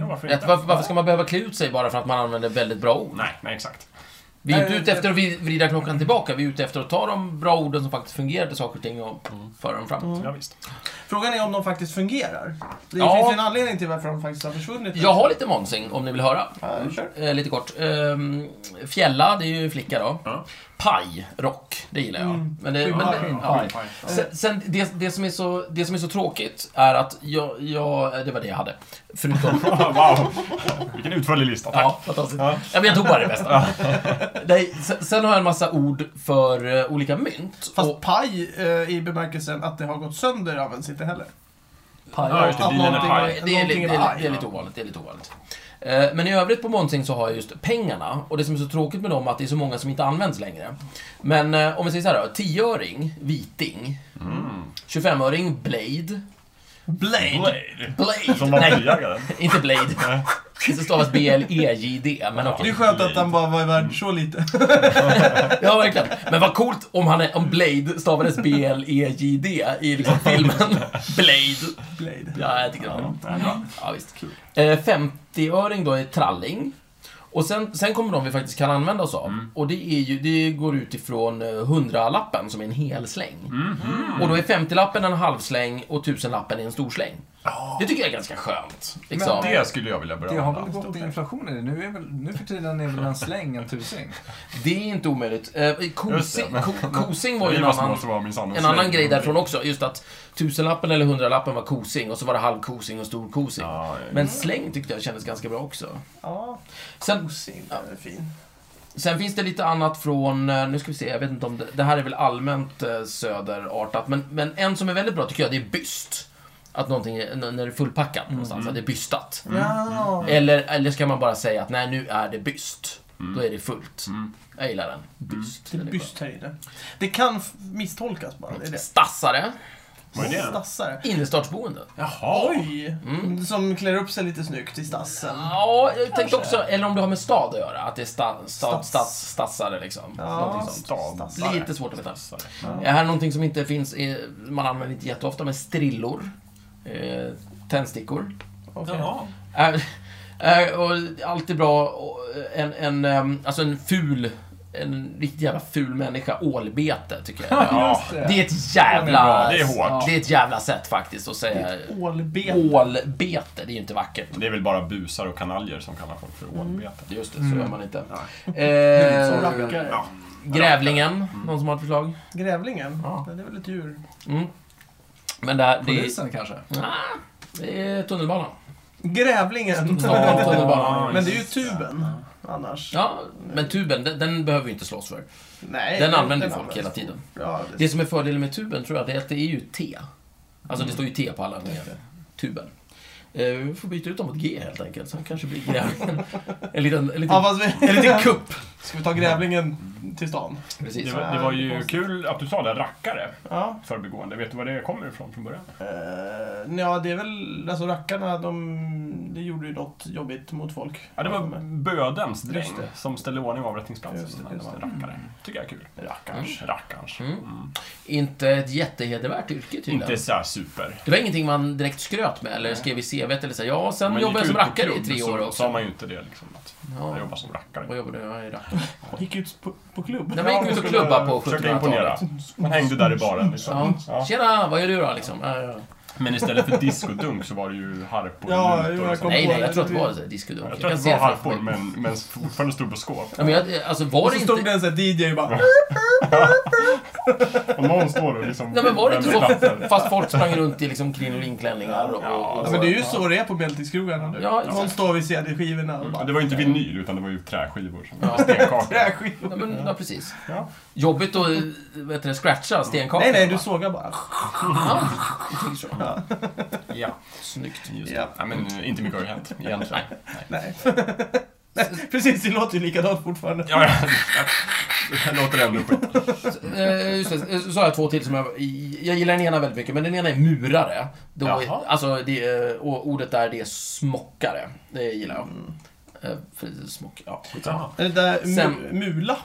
Ja, varför
Rätt,
inte?
varför, varför ska man behöva klä ut sig bara för att man använder väldigt bra ord?
Nej, nej exakt.
Vi är inte
Nej,
ute
det-
efter att vi- vrida klockan tillbaka, vi är ute efter att ta de bra orden som faktiskt fungerar till saker och ting och
Mm.
föra dem framåt.
Ja, visst.
Frågan är om de faktiskt fungerar. Det
Ja.
finns ju en anledning till varför de faktiskt har försvunnit.
Jag har lite Monsing, om ni vill höra.
Ja, kör.
Eh, lite kort. Ehm, fjälla, det är ju flicka då.
Ja.
Paj, rock, det gillar jag.
Mm.
Men det, men
Ja,
det,
ja,
ja.
Fine, fine.
Sen, sen det, det, som är så, det som är så tråkigt är att jag, jag... Det var det jag hade. Förutom...
Wow, vilken utförlig lista. Tack.
Ja, fantastiskt. Ja. men jag tog bara det bästa. Nej, sen, sen har jag en massa ord för eh, olika mynt.
Fast
Och,
paj eh, i bemärkelsen att det har gått sönder används inte heller.
Ja,
Pajat.
just det.
Att
bilen är
någonting-
paj.
Det är,
någonting
lite,
är
det, är,
paj,
det är lite ovanligt. Det är lite ovanligt. Eh, Men i övrigt på Monsing så har jag just pengarna. Och det som är så tråkigt med dem är att det är så många som inte används längre. Men eh, om vi säger så här då. 10-öring, Viting. 25-öring, Blade.
Blade.
Blade.
Blade!
Som var
Nej,
blyjagaren.
inte Blade. Det står B-L-E-J-D, E men
Det
okej.
är skönt att han bara var värd så lite.
Ja, verkligen. Men vad coolt om, han är, om Blade stavades B-L-E-J-D i liksom filmen. Blade.
Blade.
Ja, jag tycker det var bra.
Ja, bra.
Ja, visst. Eh, 50-öring då är tralling. Och sen, sen kommer de vi faktiskt kan använda oss av.
Mm.
Och det, är ju, det går ut ifrån eh, 100-lappen som är en hel släng.
Mm-hmm.
Och då är 50-lappen en halvsläng och 1000-lappen är en stor släng. Det tycker jag är ganska skönt. Liksom.
Det skulle jag vilja börja
Det har
använda.
väl gått inflation i det. Nu, är väl, nu för tiden är väl en släng en tusing.
Det är inte omöjligt. Eh,
Just
Kosing,
det.
Ko- Kosing var
När
ju
vi
en
var små
annan...
så var min sann
En annan grej därifrån också, just att tusenlappen eller hundralappen var kosing och så var det halvkosing och stor kosing.
Ja, ja.
Men släng tyckte jag kändes ganska bra också.
Ja,
Sen,
Osin. Ja, det är fin.
sen finns det lite annat från, eh, nu ska vi se, jag vet inte om det, det här är väl allmänt eh, söderartat, men, men en som är väldigt bra tycker jag, det är byst. Att någonting är, n- när det är fullpackat
Mm.
någonstans, att det är bystat.
Ja.
Eller, eller ska man bara säga att nej, nu är det byst. Då är det fullt. Jag gillar den.
Mm.
Byst.
Det är
den är bra.
byst här i det. Det kan f- misstolkas bara. Det är det.
Stassare.
Vad är det?
Stassare.
Innerstadsboende.
Jaha.
Oj! Som klär upp sig lite snyggt i stassen.
Mm. Ja, jag tänkte också, eller om det har med stad att göra, att det är sta, sta,
Stads.
stads, stadsare liksom.
Ja.
Någonting sånt.
Stad.
Stassare.
Lite svårt att veta. Det här är någonting som inte finns, eh, man använder inte jätteofta, men strillor. Eh, tändstickor.
Okej.
Eh, eh, och alltid bra, och en, en, ehm, alltså en ful, en riktigt jävla ful människa, ålbete tycker jag.
Ja,
Just
Det är ett
Den är
jävla...
bra, det är hårt.
Det är ett jävla sätt faktiskt att säga
Ålben.
ålbete, det är ju inte vackert.
Det är väl bara busar och kanaljer som kallar folk för
Mm.
ålbete.
Just det, så gör man inte.
Som
Eh,
rackare.
Ja.
Grävlingen, någon som har ett förslag?
Grävlingen?
Ja.
Det är väl ett djur?
Mm. Men det, här, det, är,
Polisen kanske?
det är tunnelbanan.
Grävlingen!
Ja, tunnelbanan.
Men det är ju tuben annars.
Ja, men tuben, den, den behöver vi inte slåss för.
Nej,
Den använder ju folk hela tiden.
Ja, det...
Det som är fördelen med tuben tror jag, det är att det är ju T. Alltså
Mm.
det står ju T på alla anledningar. Tuben. Eh, Vi får byta ut dem mot G helt enkelt, så det kanske blir grävlingen. En liten, en
Ja,
liten,
fast vi...
en liten kupp.
Ska vi ta grävlingen till stan?
Precis.
Det var, det var ju kul att du sa det, rackare.
Ja.
Förbigående. Vet du var det kommer ifrån från början?
Uh, ja, det är väl... Alltså rackarna, de... Det gjorde ju något jobbigt mot folk.
Ja, det var bödens dräng
Just det.
som ställde i ordning avrättningsplatsen.
Just det, just det.
Rackare.
Mm.
Tycker jag är kul. Rackarns. Rackarns. Mm.
Inte ett jättehedervärt yrke tydligen.
Inte så här super.
Det var ingenting man direkt skröt med eller skrev i CVt eller så. här, Ja, sen
Om man
jobbade jag
gick
som
ut på
rackare i
klubb
tre år
Så sa
också.
man ju inte det liksom. Att jag
Ja,
jobbar som
vad
rackare.
jobbade jag i rackare?
Gick ut på, på klubb.
Nej, men gick ut och klubba på
Försökte imponera.
1700-talet.
Man hängde där i baren liksom.
Ja. Tjena, vad gör du då liksom? Ja, ja.
Men istället för diskodunk så var det ju harpor
Ja,
och
jo,
lutor
jag
och sånt.
kom
Nej, nej, jag tror att det var så här diskodunk.
Jag tror att det var harpor, men, men fortfarande stod på skåp.
Ja, men jag, alltså var
Och
det
så
inte...
stod det en sån här DJ bara...
Och någon står och liksom...
Nej, men var det inte så?
vänder plattor.
Fast folk sprang runt i liksom krinolinnklänningar och... och,
Ja,
och
men det är ju så det är på medeltidskrogarna nu.
Ja,
Någon
exakt.
står vid CD-skivorna och
Ja,
bara...
Mm. Det var ju inte vinyl, utan det var ju träskivor. Som
Ja.
Stenkakor.
Träskivor.
Ja, men, ja, precis.
Ja.
Jobbigt att vad heter det, scratcha stenkakor.
Nej, nej, du sågar bara.
Ja, jag tänker så.
Ja,
Snyggt.
just
Ja.
det. Nej, men eh, inte mycket har ju hänt egentligen. Nej.
Nej. Nej, Precis, det låter ju likadant fortfarande.
Ja, ja. Jag låter ändå skit.
Eh, just det, eh, så har jag två till som jag... Jag gillar den ena väldigt mycket, men den ena är murare. Då,
Jaha.
alltså, det, är- och ordet där, det är smockare. Det gillar jag. Eh, för- Smock, ja, skitsamma.
Är det där mu-
Sen-
mula?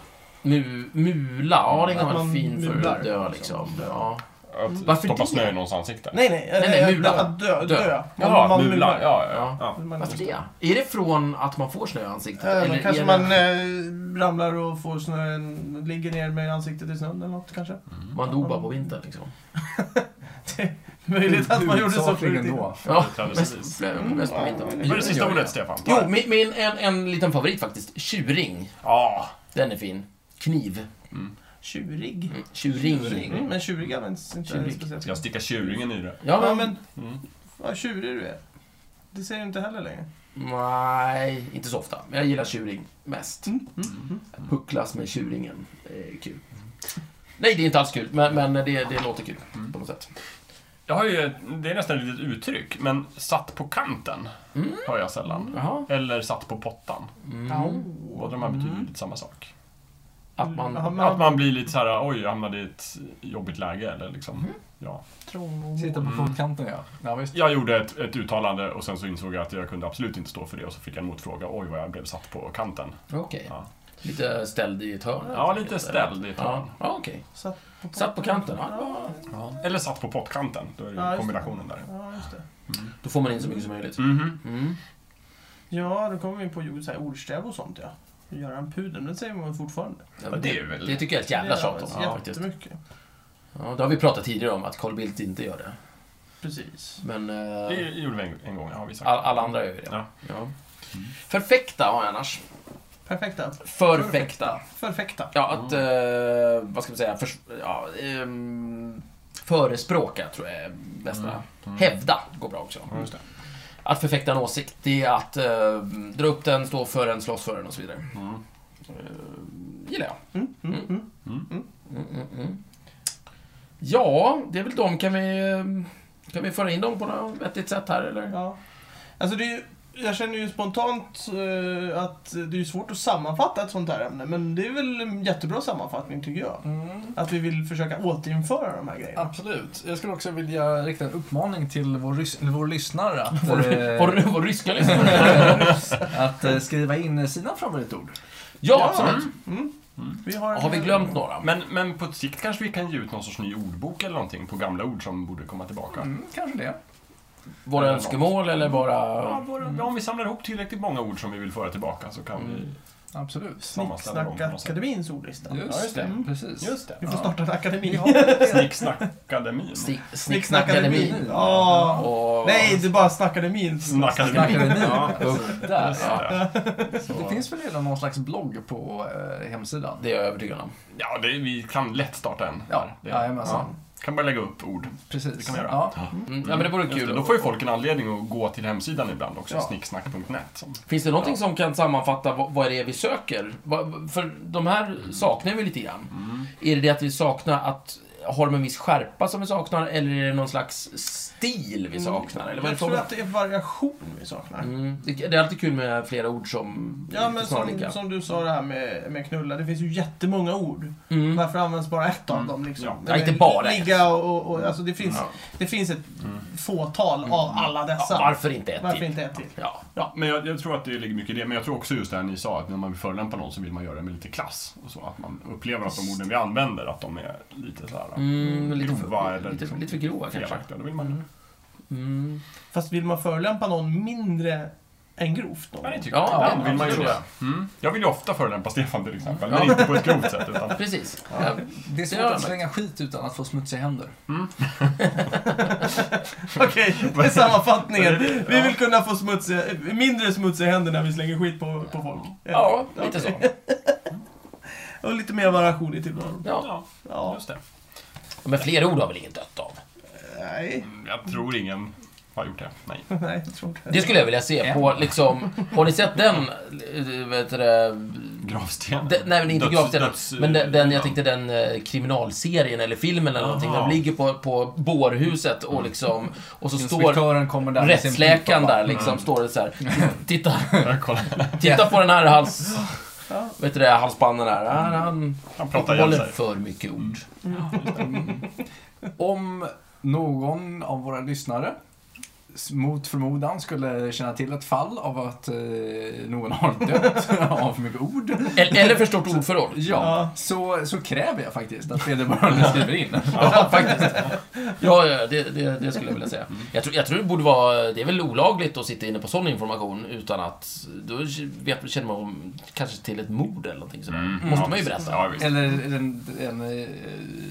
Mu, mula, ja det kan
Att
vara
man
fin för
mular.
att dö liksom. Ja.
Att
Varför
stoppa
det?
snö i någons ansikte.
Nej, nej.
Nej, nej,
eh,
mula.
Att dö.
Dö.
dö.
Jaha,
man
mula.
mular.
Ja, ja, ja.
Man-
Varför det? Är det från att man får snö i ansiktet?
Eh, men kanske
är
man
det,
eh, ramlar och får snön, ligger ner med ansiktet i snön eller något kanske.
man dog bara på vintern liksom?
Möjligt att man gjorde så förut.
Huvudsakligen
i-
då.
Ja,
traditionellt.
mest, mest på vintern.
Vad är det sista ordet, Stefan? Ta
Jo,
det.
min, min, en, en liten favorit faktiskt. Tjuring.
Ja.
Den är fin. Kniv.
Tjurig.
Mm, Tjuring.
Mm, men tjurig används inte
Tjurig.
speciellt.
Ska jag Mm. sticka tjuringen i det?
Ja,
Ja, men...
men vad tjurig du är. Det säger du inte heller längre.
Nej, inte så ofta. Men jag gillar tjuring mest.
Mm,
Pucklas med tjuringen.
Mm.
Det är kul. Nej, det är inte alls kul, men, men det, det låter kul på något sätt.
Jag har ju, det är nästan ett litet uttryck, men satt på kanten har jag sällan.
Jaha. Mm.
Eller satt på pottan.
Au.
Båda de här betyder lite samma sak.
Att
Ja,
man...
men-
Att man blir lite så här, oj, jag hamnade i ett jobbigt läge. Eller liksom, ja.
Sitta på
Mm.
fotkanten, ja. ja visst.
Jag gjorde ett, ett uttalande och sen så insåg jag att jag kunde absolut inte stå för det och så fick jag en motfråga. Oj, vad jag blev satt på kanten.
Okej.
Ja.
Lite ställd i ett hörn?
Ja, lite ställd i ett
Ja,
hörn.
ja okej.
Satt på,
Satt på kanten? Ja, det var-
Eller satt på pottkanten. Då
Ja,
är det
just
ju kombinationen där.
Ja, just det.
Då får man in så mycket som möjligt.
Mhm.
Mm.
Ja, då kommer vi på ju så här ordstäv och sånt ja. Göran Pudel, det säger man fortfarande.
Ja,
Ja,
men
det är väl...
Det tycker jag är ett jävla
Det
tjat om.
används
Ja, faktiskt.
Jättemycket.
Ja, det har vi pratat tidigare om, att Carl Bildt inte gör det.
Precis.
Men eh,
Det gjorde vi en, en gång, har vi sagt.
all, alla andra gör ju det.
Ja.
Ja. Förfäkta har jag annars.
Perfekta.
Förfäkta.
Perfekta.
Ja, att... Eh, vad ska man säga? Förs- ja, ehm, förespråka, tror jag är bästa. Hävda går bra också.
Ja, just det.
Att förfäkta en åsikt, det är att eh, dra upp den, stå för den, slåss för den och så vidare.
Mm.
Eh, gillar jag.
Mm, mm, mm.
Mm, mm, mm. Ja, det är väl de. Kan vi, eh, kan vi föra in dem på något vettigt sätt här, eller?
Ja. Alltså det är ju, jag känner ju spontant eh, att det är svårt att sammanfatta ett sånt här ämne, men det är väl en jättebra sammanfattning tycker jag.
Mm.
Att vi vill försöka återinföra de här grejerna.
Absolut. Jag skulle också vilja rikta en uppmaning till vår, rys- eller vår lyssnare att, eh,
Var det vår ryska liksom. lyssnare?
att eh, skriva in sina favoritord.
Ja, absolut.
Mm. Vi har,
Har vi glömt några?
Men, men på sikt kanske vi kan ge ut någon sorts ny ordbok eller någonting på gamla ord som borde komma tillbaka.
Mm, kanske det.
Våra
Eller
önskemål eller
Ja, mm.
bara...
våra, om vi samlar ihop tillräckligt många ord som vi vill föra tillbaka så kan vi...
Absolut.
Sammanställa dem på något sätt.
Snicksnackakademins ordlista.
Just,
just det.
det. Mm, Precis.
det.
Vi får starta en akademi.
Snicksnackakademin.
Snick- Snicksnackademin.
Ja.
Och...
Nej, det är bara snackakademin.
Mm.
Snackakademin.
Snackakademin.
Ja,
Där.
just det.
Det
Så-
finns väl redan någon slags blogg på eh, hemsidan?
Det är jag övertygad om.
Ja, det, vi kan lätt starta en.
Ja,
det,
jajamensan.
Kan bara lägga upp ord.
Precis.
Det kan man göra.
Ja.
Mm. Ja, men det vore
Just
kul.
det, då får ju folk en anledning att gå till hemsidan ibland också,
Ja.
snicksnack.net. Som,
Finns det någonting som kan sammanfatta vad, vad det är vi söker? Vad, för de här saknar vi lite grann.
Mm.
Är det det att vi saknar att har de en viss skärpa som vi saknar eller är det någon slags stil vi saknar? Eller vad är
Mm. Jag
det
tror
frågan?
att det är variation vi saknar.
Mm. Det det är alltid kul med flera ord som är
Ja,
lite
men
snarlika.
som, som du sa det här med, med knulla, det finns ju jättemånga ord.
Mm.
Varför används bara ett av dem? Liksom?
Ja.
Nej,
Ja, inte
men
bara ett.
Ligga och, och, och, alltså det, finns,
Ja. Mm.
det finns ett fåtal av alla
Ja,
dessa.
varför inte ett
Varför
till?
inte ett till?
Ja.
ja, men jag, jag tror att det ligger mycket i det. Men jag tror också just det här ni sa, att när man vill förolämpa någon så vill man göra det med lite klass. Och så, att man upplever att de orden vi använder, att de är lite så här...
Mm, lite,
Grova
för,
eller
lite,
liksom
lite för grova kanske.
felaktiga. Då vill man...
Mm.
Fast vill man förolämpa någon mindre än grovt då?
Ja, det tycker
Ja,
jag. Ibland
ja,
vill man ju
absolut.
det. Mm. Jag vill ju ofta förolämpa Stefan till exempel,
Ja.
men inte på ett grovt sätt. Utan...
Precis. Ja.
Det är svårt
gör
att
man.
slänga skit utan att få smutsiga händer.
Okej, det är sammanfattningen.
Vad är det?
Vi vill kunna få smutsiga, mindre smutsiga händer när vi slänger skit på, på folk.
Ja, lite så.
Och lite mer variation i tillvaron.
Ja.
Ja.
just det.
Men fler ord har väl ingen dött av?
Nej,
Mm, Jag tror ingen har gjort det. Nej.
nej, jag tror inte
Det skulle jag vilja se på liksom, har ni sett den, eh, vad heter det,
Gravstenen.
den nej men inte
Döds-
gravstenen,
döds-
men den, den, jag tänkte den eh, kriminalserien eller filmen eller någonting, där
Aha.
de
Mm.
ligger på, på bårhuset och liksom, och så står
Inspektören kommer där med sin pipa Mm.
rättsläkaren
och bara,
där liksom,
Mm.
står det så här, titta,
Jag kollar.
titta på den här hals,
Ja.
vet du det, halsbanden här, han, han
Han pratar ihjäl
håller
sig.
för mycket ord.
Mm. Om någon av våra lyssnare s- mot förmodan skulle känna till ett fall av att eh, någon har dött av för mycket ord.
Mm.
Eller, eller för stort ordförråd.
Ja, så, så kräver jag faktiskt att vederbörande skriver in.
Ja, faktiskt. Ja, ja det, det, det skulle jag vilja
Mm.
säga. Jag tror, jag tror det borde vara... Det är väl olagligt att sitta inne på sån information utan att... Då vet, känner man om- kanske till ett mord eller någonting sådär. Måste man ju berätta.
Mm. Ja, visst.
Eller en, en, eh,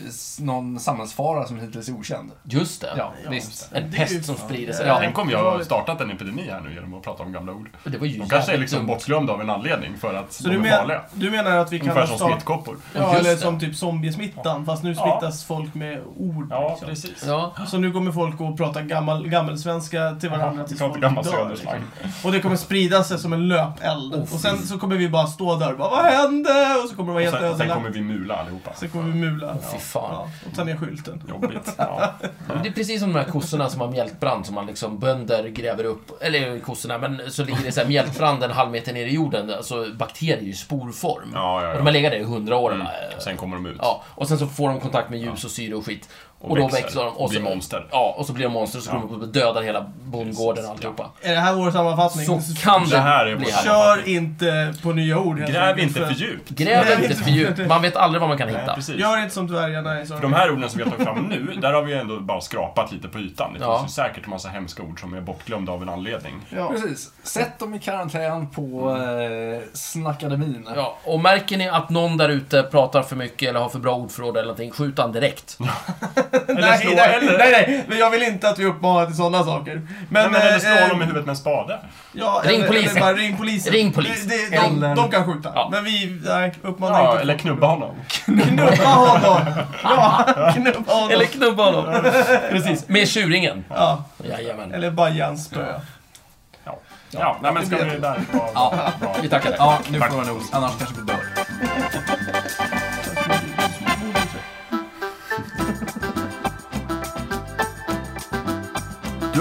s- någon samhällsfara som hittills är okänd.
Just det.
Ja,
Ja,
visst.
En
Det är ju-
pest som sprider sig.
Ja.
Tänk om jag har startat en epidemi här nu genom att prata om gamla ord.
Det var ju
De kanske är
jävligt
liksom
dumt.
bortglömda av en anledning för att
Så
de
du,
är
men,
farliga.
du menar att vi kan
Ungefär som
starta-
smittkoppor.
Ja,
Just
eller
det.
som typ zombiesmittan, fast nu
Ja.
smittas folk med ord.
Ja,
liksom.
precis.
Ja.
Så nu kommer folk att prata gammal, gammelsvenska till varandra
Vi
tills
kan inte
folk
gammal
dör. liksom.
söderslang.
Och det kommer sprida sig som en löpeld. och sen så kommer vi bara stå där och bara Vad hände? Och så kommer det vara
Och
helt
sen, sen
ödelagt.
kommer vi mula allihopa.
Sen kommer vi mula.
Fy fan.
Ja, och ta ner skylten.
Jobbigt. Ja.
Det är precis som de här kossorna som har mjältbrand som man liksom bönder gräver upp. Eller kossorna, men så ligger det så här mjältbrand en halv meter ner i jorden. Alltså bakterier i sporform.
Ja, ja, ja.
Och de har legat där i hundra år.
Mm.
va?
Och sen kommer de ut.
Ja, och sen så får de kontakt med ljus och syre och skit. Och,
Och
då
växer.
växer de. Och
Blir
så,
monster.
Ja, och så blir de monster och så kommer de och dödar hela bondgården och alltihopa.
Är det här vår sammanfattning?
Så kan
Det här är
det bli
vår-
här.
Kör inte på nya ord. helt
Gräv
enkelt,
inte för djupt.
Gräv
Nej,
inte för djupt. Man vet aldrig vad man kan
Nej,
hitta.
precis.
Gör inte som dvärgarna i
För
Sagan
de här orden som vi har tagit fram nu, där har vi ändå bara skrapat lite på ytan. Det
Ja.
finns ju säkert en massa hemska ord som är bortglömda av en anledning.
Ja.
Precis. Sätt dem i karantän på eh, Snackademin.
Ja, och märker ni att någon där ute pratar för mycket eller har för bra ordförråd eller någonting, skjut han direkt.
Eller slå,
Nej, nej,
eller-
nej, nej, men jag vill inte att vi uppmanar till sådana saker.
Nej,
Men,
men eller
eh,
slå honom i huvudet med en spade.
ja,
Ring
eller-
polisen.
eller bara Ring polisen.
Ring polisen.
Det, det, de,
Eller-
de kan skjuta.
Ja.
Men vi, nej, uppmanar
Ja,
inte.
eller knubba honom.
Knuffa honom! Ja, knuffa honom.
Eller knubba honom. Precis, med tjuringen.
ja,
Jajamän.
eller bajans spö.
Ja, ja nej, men ska vi där på...
Ja.
Bra.
Vi tackar dig.
Ja, nu
Tack.
får man nog. Annars kanske vi dör.
Du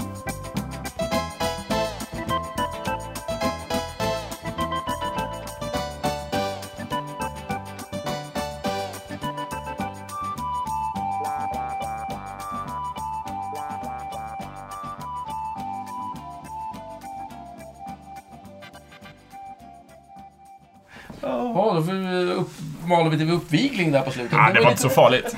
Ja, då får vi upp, maler vi till uppvigling där på slutet.
farligt.